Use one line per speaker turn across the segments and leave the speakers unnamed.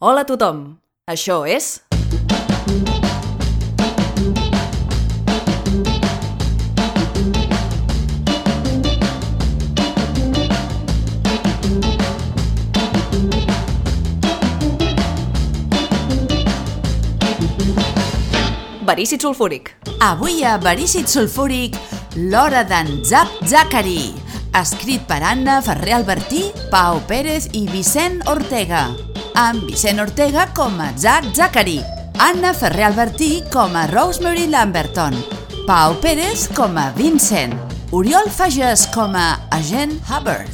Hola a tothom! Això és... Verícid sulfúric.
Avui a Verícid Sulfúric, l'hora d'en Zap Zachary. Escrit per Anna Ferrer Albertí, Pau Pérez i Vicent Ortega. Amb Vicent Ortega com a Zac Zachary. Anna Ferrer Albertí com a Rosemary Lamberton. Pau Pérez com a Vincent. Oriol Fages com a Agent Hubbard.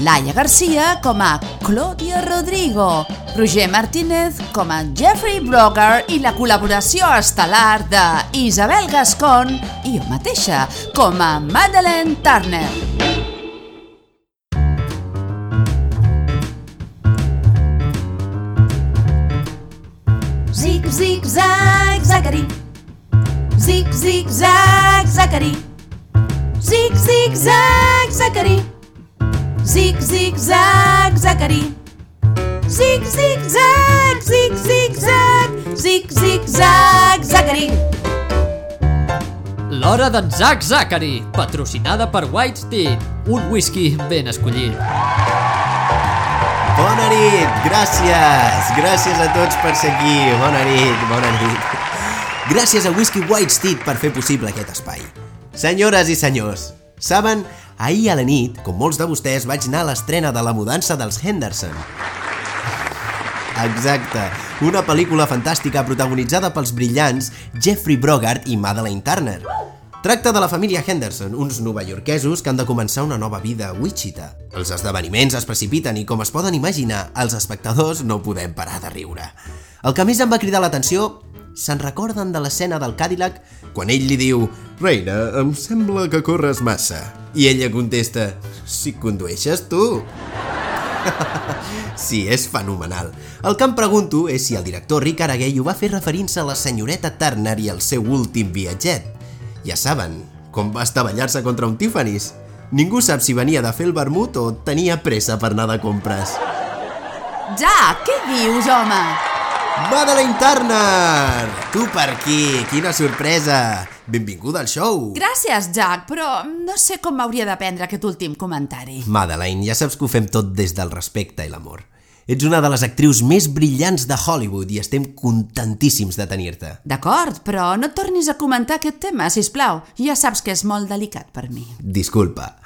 Laia Garcia com a Claudia Rodrigo, Roger Martínez com a Jeffrey Broger i la col·laboració estel·lar de Isabel Gascon i jo mateixa com a Madeleine Turner. Zig, zig, zag, Zachary. Zig, zig, zag, Zachary. Zig, zig, zag, Zachary. Zig, zig, zag, Zachary. Zig, zig, zag, zig, zig, zag, zig, zig, zag, Zachary.
L'hora d'en Zack Zachary, patrocinada per White Tea, un whisky ben escollit.
Bona nit, gràcies, gràcies a tots per ser aquí, bona nit, bona nit. Gràcies a Whisky White Steed per fer possible aquest espai. Senyores i senyors, saben, ahir a la nit, com molts de vostès, vaig anar a l'estrena de la mudança dels Henderson. Exacte, una pel·lícula fantàstica protagonitzada pels brillants Jeffrey Brogart i Madeleine Turner. Tracta de la família Henderson, uns novaiorquesos que han de començar una nova vida a Wichita. Els esdeveniments es precipiten i, com es poden imaginar, els espectadors no podem parar de riure. El que més em va cridar l'atenció se'n recorden de l'escena del Cadillac quan ell li diu «Reina, em sembla que corres massa». I ella contesta «Si condueixes tu». Sí, és fenomenal. El que em pregunto és si el director Rick Araguell ho va fer referint-se a la senyoreta Turner i el seu últim viatget. Ja saben, com va estavellar-se contra un Tiffany's. Ningú sap si venia de fer el vermut o tenia pressa per anar de compres.
Ja, què dius, home?
Madeleine Turner! Tu per aquí, quina sorpresa! Benvinguda al show!
Gràcies, Jack, però no sé com m'hauria de prendre aquest últim comentari.
Madeleine, ja saps que ho fem tot des del respecte i l'amor. Ets una de les actrius més brillants de Hollywood i estem contentíssims de tenir-te.
D'acord, però no tornis a comentar aquest tema, si plau. Ja saps que és molt delicat per mi.
Disculpa.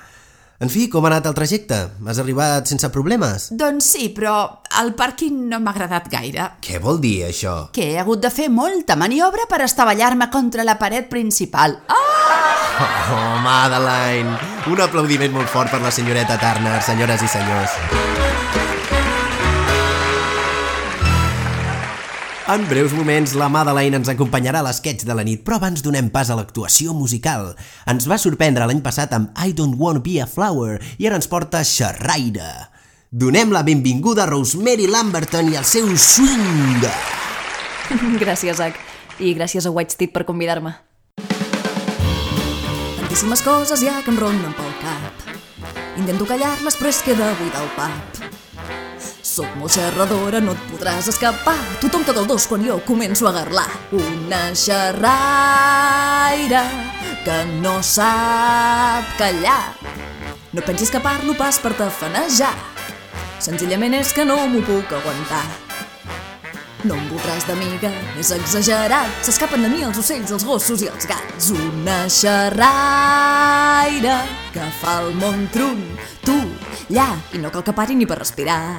En fi, com ha anat el trajecte? Has arribat sense problemes?
Doncs sí, però el pàrquing no m'ha agradat gaire.
Què vol dir, això?
Que he hagut de fer molta maniobra per estavellar-me contra la paret principal. Ah!
Oh, Madeleine! Un aplaudiment molt fort per la senyoreta Turner, senyores i senyors. En breus moments, la Madeleine ens acompanyarà a l'esquetx de la nit, però abans donem pas a l'actuació musical. Ens va sorprendre l'any passat amb I Don't Wanna Be a Flower i ara ens porta Xerraire. Donem la benvinguda a Rosemary Lamberton i el seu swing.
gràcies, Zach. I gràcies a White Steed per convidar-me. Tantíssimes coses ja que em ronden pel cap. Intento callar-les, però és que queda buida el pap. Soc molt xerradora, no et podràs escapar. Tothom tot el dos quan jo començo a garlar. Una xerraire que no sap callar. No pensis que parlo pas per tafanejar. Senzillament és que no m'ho puc aguantar. No em voldràs d'amiga, és exagerat. S'escapen de mi els ocells, els gossos i els gats. Una xerraire que fa el món trun, tu, allà, i no cal que pari ni per respirar.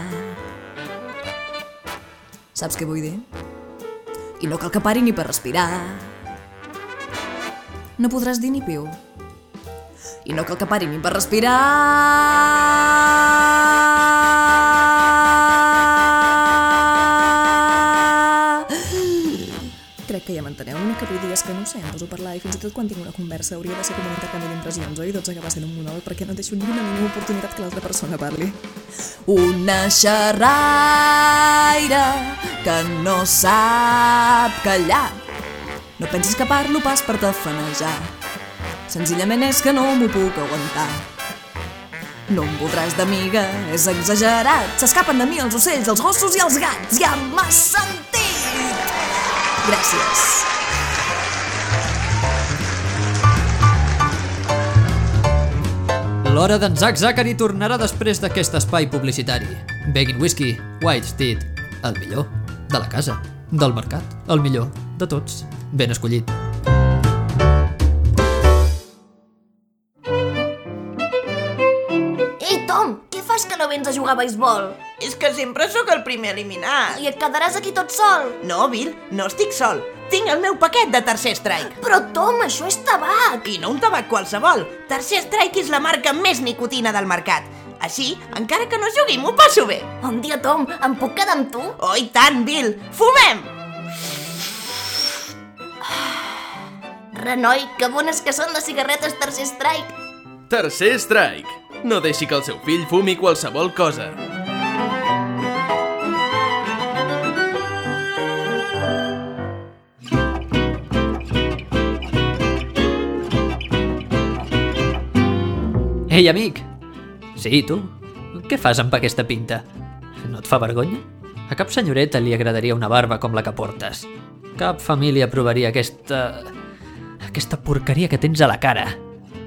Saps què vull dir? I no cal que pari ni per respirar. No podràs dir ni piu. I no cal que pari ni per respirar.
Crec que ja m'enteneu, l'únic que vull dir és que no ho sé, em poso a parlar i fins i tot quan tinc una conversa hauria de ser com un intercanvi d'impressions, oi? Doncs acaba sent un monòleg perquè no deixo ni una mínima oportunitat que l'altra persona parli.
Una xerraire que no sap callar. No pensis que parlo pas per tafanejar. Senzillament és que no m'ho puc aguantar. No em voldràs d'amiga, és exagerat. S'escapen de mi els ocells, els gossos i els gats. Ja m'has sentit! Gràcies.
L'hora d'en Zack Zachary tornarà després d'aquest espai publicitari. Begging Whisky, White Teed, el millor de la casa, del mercat, el millor de tots, ben escollit.
Ei, Tom, què fas que no vens a jugar a beisbol?
És que sempre sóc el primer eliminat.
I et quedaràs aquí tot sol?
No, Bill, no estic sol. Tinc el meu paquet de tercer strike.
Però, Tom, això és tabac!
I no un tabac qualsevol. Tercer strike és la marca amb més nicotina del mercat. Així, encara que no jugui, m'ho passo bé.
Un dia, Tom, em puc quedar amb tu?
Oh, i tant, Bill! Fumem!
Renoi, que bones que són les cigarretes Tercer Strike!
Tercer strike. No deixi que el seu fill fumi qualsevol cosa.
Ei, amic! Sí, tu? Què fas amb aquesta pinta? No et fa vergonya? A cap senyoreta li agradaria una barba com la que portes. Cap família aprovaria aquesta... aquesta porqueria que tens a la cara.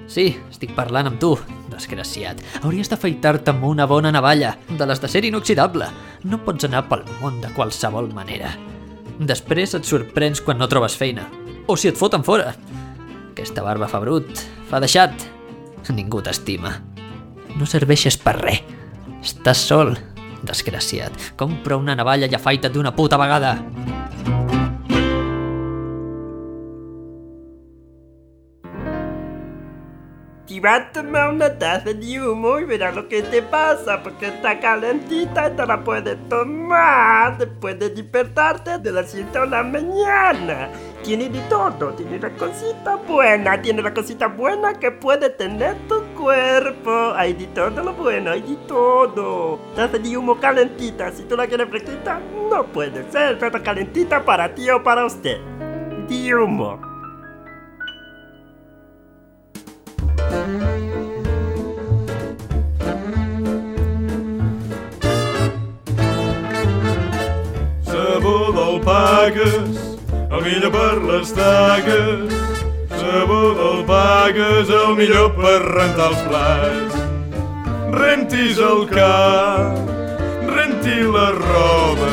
Sí, estic parlant amb tu, desgraciat. Hauries d'afaitar-te amb una bona navalla, de les de ser inoxidable. No pots anar pel món de qualsevol manera. Després et sorprens quan no trobes feina. O si et foten fora. Aquesta barba fa brut, fa deixat. Ningú t'estima. No serveixes per res. Estàs sol, desgraciat. Compra una navalla i afaita't d'una puta vegada.
Si vas a tomar una taza de humo y verás lo que te pasa, porque está calentita y te la puedes tomar después de despertarte de las 7 de la mañana. Tiene de todo, tiene la cosita buena, tiene la cosita buena que puede tener tu cuerpo. Hay de todo lo bueno, hay de todo. Taza de humo calentita, si tú la quieres fresquita, no puede ser, pero calentita para ti o para usted. De humo.
Sabó d'alpagues, el millor per les taques. Sabó d'alpagues, el millor per rentar els plats. Rentis el cap, renti la roba.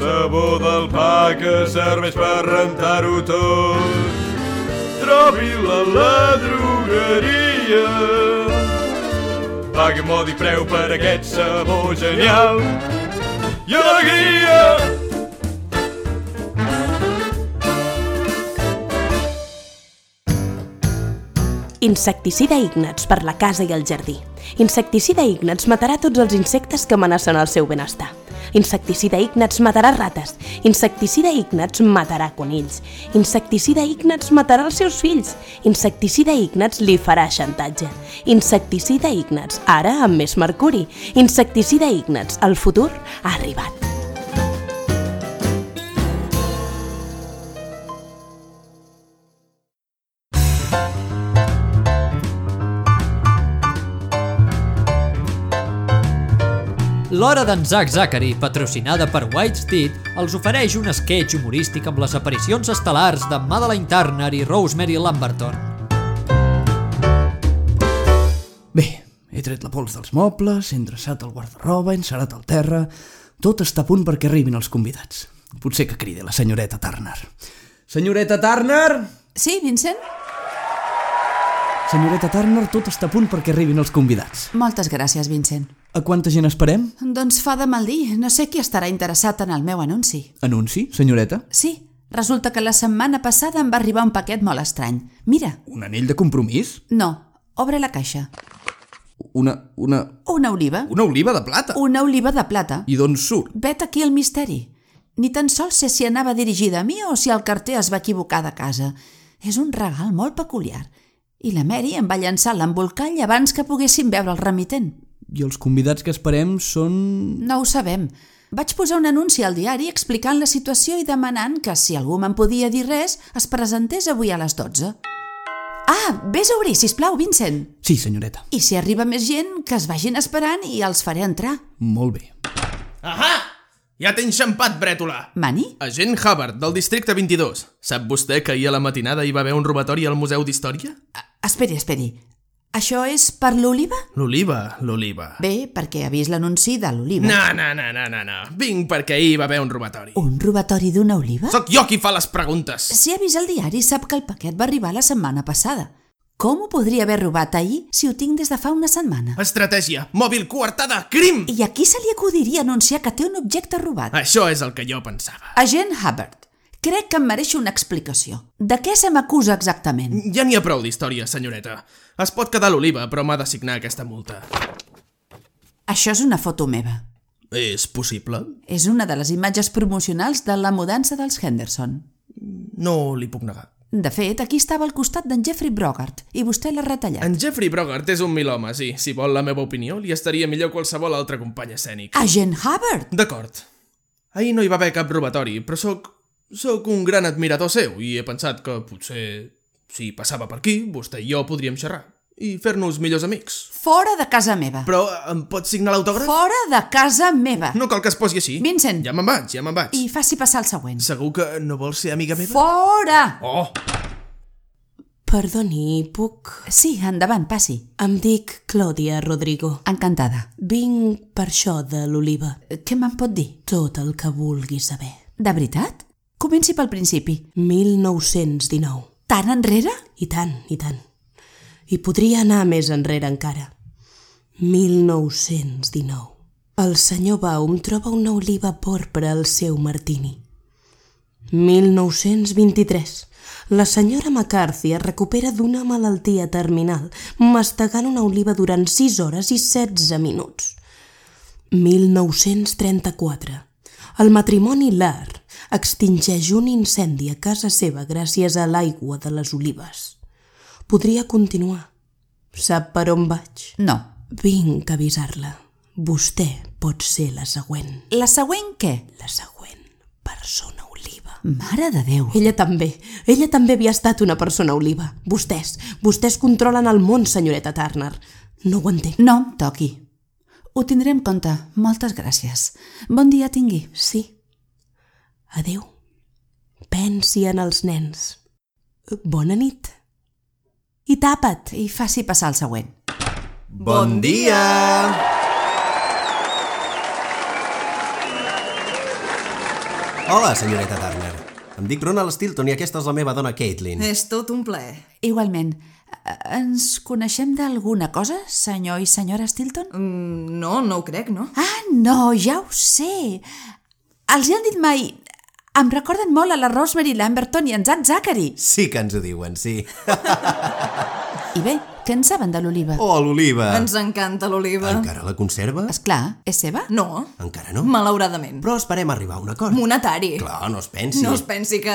Sabó d'alpaca serveix per rentar-ho tot. Trobi-la a la drogueria. Pagui modi preu per aquest sabó genial i alegria.
Insecticida Ignats per la casa i el jardí. Insecticida Ignats matarà tots els insectes que amenacen el seu benestar. Insecticida Ignats matarà rates. Insecticida Ignats matarà conills. Insecticida Ignats matarà els seus fills. Insecticida Ignats li farà xantatge. Insecticida Ignats, ara amb més mercuri. Insecticida Ignats, el futur ha arribat.
L'hora d'en Zack Zachary, patrocinada per White Steed, els ofereix un sketch humorístic amb les aparicions estel·lars de Madeleine Turner i Rosemary Lamberton.
Bé, he tret la pols dels mobles, he endreçat el guardarroba, he encerat el terra... Tot està a punt perquè arribin els convidats. Potser que cridi la senyoreta Turner. Senyoreta Turner!
Sí, Vincent?
Senyoreta Turner, tot està a punt perquè arribin els convidats.
Moltes gràcies, Vincent.
A quanta gent esperem?
Doncs fa de mal dir, no sé qui estarà interessat en el meu anunci.
Anunci, senyoreta?
Sí, resulta que la setmana passada em va arribar un paquet molt estrany. Mira,
Un anell de compromís?
no, obre la caixa.
Una... una...
Una oliva.
Una oliva de plata?
Una oliva de plata.
I d'on surt?
Vet aquí el misteri. Ni tan sols sé si anava dirigida a mi o si el carter es va equivocar de casa. És un regal molt peculiar. I la Mary em va llançar l'embolcall abans que poguéssim veure el remitent.
I els convidats que esperem són...
No ho sabem. Vaig posar un anunci al diari explicant la situació i demanant que, si algú me'n podia dir res, es presentés avui a les 12. Ah, vés a obrir, sisplau, Vincent.
Sí, senyoreta.
I si arriba més gent, que es vagin esperant i els faré entrar.
Molt bé.
Ahà! Ja t'he enxampat, brètola!
Mani?
Agent Hubbard, del districte 22. Sap vostè que ahir a la matinada hi va haver un robatori al Museu d'Història?
Esperi, esperi. Això és per l'oliva?
L'oliva, l'oliva.
Bé, perquè ha vist l'anunci de l'oliva.
No, no, no, no, no, no. Vinc perquè ahir hi va haver un robatori.
Un robatori d'una oliva?
Sóc jo qui fa les preguntes.
Si ha vist el diari, sap que el paquet va arribar la setmana passada. Com ho podria haver robat ahir si ho tinc des de fa una setmana?
Estratègia, mòbil, coartada, crim!
I a qui se li acudiria anunciar que té un objecte robat?
Això és el que jo pensava.
Agent Hubbard, crec que em mereixo una explicació. De què se m'acusa exactament?
Ja n'hi ha prou d'història, senyoreta. Es pot quedar l'oliva, però m'ha de signar aquesta multa.
Això és una foto meva.
És possible?
És una de les imatges promocionals de la mudança dels Henderson.
No li puc negar.
De fet, aquí estava al costat d'en Jeffrey Brogart i vostè l'ha retallat.
En Jeffrey Brogart és un milhome, sí. Si vol la meva opinió, li estaria millor qualsevol altre company escènic.
Agent Hubbard!
D'acord. Ahir no hi va haver cap robatori, però sóc... sóc un gran admirador seu i he pensat que potser... si passava per aquí, vostè i jo podríem xerrar i fer-nos millors amics.
Fora de casa meva.
Però em pot signar l'autògraf?
Fora de casa meva.
No cal que es posi així.
Vincent.
Ja me'n vaig, ja me'n vaig.
I faci passar el següent.
Segur que no vol ser amiga meva?
Fora!
Oh!
Perdoni, puc...
Sí, endavant, passi.
Em dic Clàudia Rodrigo.
Encantada. Eh,
Vinc per això de l'oliva.
Què me'n pot dir?
Tot el que vulgui saber.
De veritat? Comenci pel principi.
1919.
Tan enrere?
I tant, i tant. I podria anar més enrere encara. 1919. El senyor Baum troba una oliva porpra al seu martini. 1923. La senyora McCarthy es recupera d'una malaltia terminal, mastegant una oliva durant 6 hores i 16 minuts. 1934. El matrimoni Lar extingeix un incendi a casa seva gràcies a l'aigua de les olives. Podria continuar. Sap per on vaig?
No.
Vinc a avisar-la. Vostè pot ser la següent.
La següent què?
La següent persona oliva.
Mare de Déu.
Ella també. Ella també havia estat una persona oliva. Vostès. Vostès controlen el món, senyoreta Turner. No ho entenc.
No, em toqui. Ho tindré en compte. Moltes gràcies. Bon dia tingui.
Sí. Adeu. Pensi en els nens. Bona nit i tapa't
i faci passar el següent.
Bon dia! Hola, senyoreta Turner. Em dic Ronald Stilton i aquesta és la meva dona Caitlin.
És tot un plaer.
Igualment. eh, Ens coneixem d'alguna cosa, senyor i senyora Stilton?
Mm, no, no ho crec, no?
Ah, no, ja ho sé. Els hi han dit mai... Em recorden molt a la Rosemary Lamberton i en Zach Zachary.
Sí que ens ho diuen, sí.
I bé, què en saben de l'oliva?
Oh, l'oliva!
Ens encanta l'oliva.
Encara la conserva?
És clar, és seva?
No.
Encara no?
Malauradament.
Però esperem arribar a un acord.
Monetari.
Clar, no es pensi.
No es pensi que...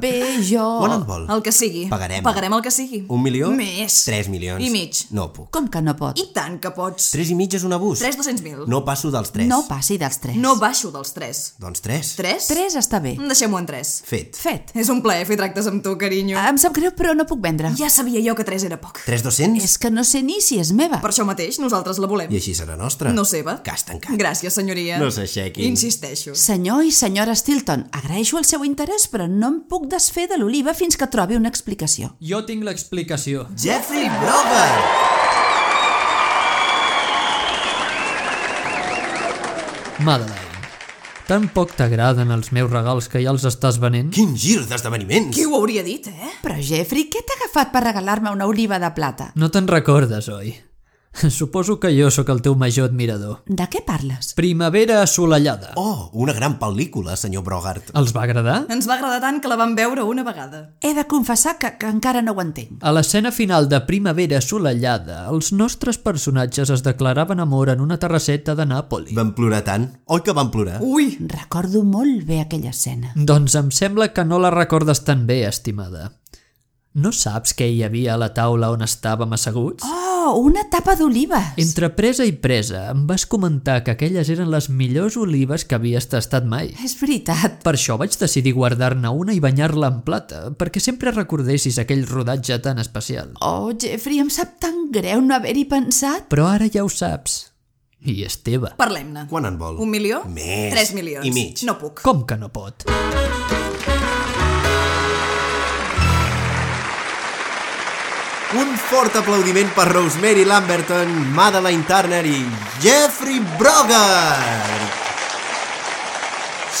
Bé, jo...
Quan et vol?
El que sigui.
Pagarem.
Pagarem el que sigui.
Un milió?
Més.
Tres milions.
I mig.
No puc.
Com que no pot?
I tant que pots.
Tres i mig és un abús.
Tres dos-cents mil.
No passo dels tres.
No passi dels tres.
No baixo dels tres.
Doncs tres.
Tres?
Tres està bé.
Mm.
Deixem-ho en tres.
Fet.
Fet.
És un plaer fer tractes amb tu, carinyo.
Em sap greu, però no puc vendre.
Ja sabia jo que tres era poc.
Tres dos-cents?
És que no sé ni si és meva.
Per això mateix, nosaltres la volem.
I així serà nostra.
No seva.
Cas tancat.
Gràcies, senyoria.
No s'aixequin.
Insisteixo.
Senyor i senyora Stilton, agraeixo el seu interès, però no em puc desfer de l'oliva fins que trobi una explicació.
Jo tinc l'explicació.
Jeffrey Brogan!
Madeleine, tan poc t'agraden els meus regals que ja els estàs venent?
Quin gir d'esdeveniments!
Qui ho hauria dit, eh?
Però, Jeffrey, què t'ha agafat per regalar-me una oliva de plata?
No te'n recordes, oi? Suposo que jo sóc el teu major admirador.
De què parles?
Primavera assolellada.
Oh, una gran pel·lícula, senyor Brogart.
Els va agradar?
Ens va agradar tant que la vam veure una vegada.
He de confessar que, que encara no ho entenc.
A l'escena final de Primavera assolellada, els nostres personatges es declaraven amor en una terrasseta de Nàpoli.
Van plorar tant. Oi que van plorar?
Ui!
Recordo molt bé aquella escena.
Doncs em sembla que no la recordes tan bé, estimada. No saps què hi havia a la taula on estàvem asseguts?
Oh, una tapa d'olives!
Entre presa i presa, em vas comentar que aquelles eren les millors olives que havies tastat mai.
És veritat.
Per això vaig decidir guardar-ne una i banyar-la en plata, perquè sempre recordessis aquell rodatge tan especial.
Oh, Jeffrey, em sap tan greu no haver-hi pensat.
Però ara ja ho saps. I és teva.
Parlem-ne.
Quan en vol?
Un milió?
Més.
Tres milions.
I mig.
No puc.
Com que no pot?
Un fort aplaudiment per Rosemary Lamberton, Madeleine Turner i Jeffrey Brogard!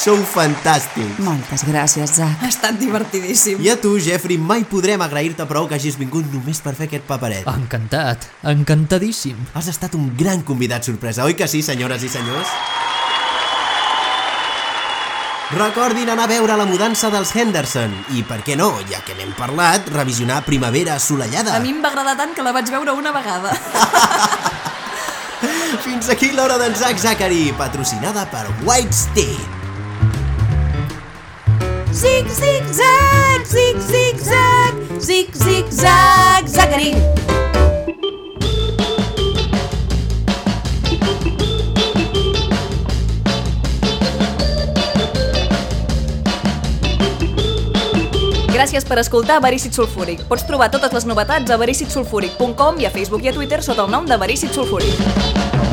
Sou fantàstics!
Moltes gràcies, Zach.
Ha estat divertidíssim.
I a tu, Jeffrey, mai podrem agrair-te prou que hagis vingut només per fer aquest paperet.
Ah. Encantat, encantadíssim.
Has estat un gran convidat sorpresa, oi que sí, senyores i senyors? Recordin anar a veure la mudança dels Henderson i, per què no, ja que n'hem parlat, revisionar Primavera assolellada.
A mi em va agradar tant que la vaig veure una vegada.
Fins aquí l'hora d'en Zack Zachary, patrocinada per White State.
Zig, zig, zag, zig, zig, zag, zig, zig, zag, Zachary.
Gràcies per escoltar Verícit Sulfúric. Pots trobar totes les novetats a vericitsulfúric.com i a Facebook i a Twitter sota el nom de Verícit Sulfúric.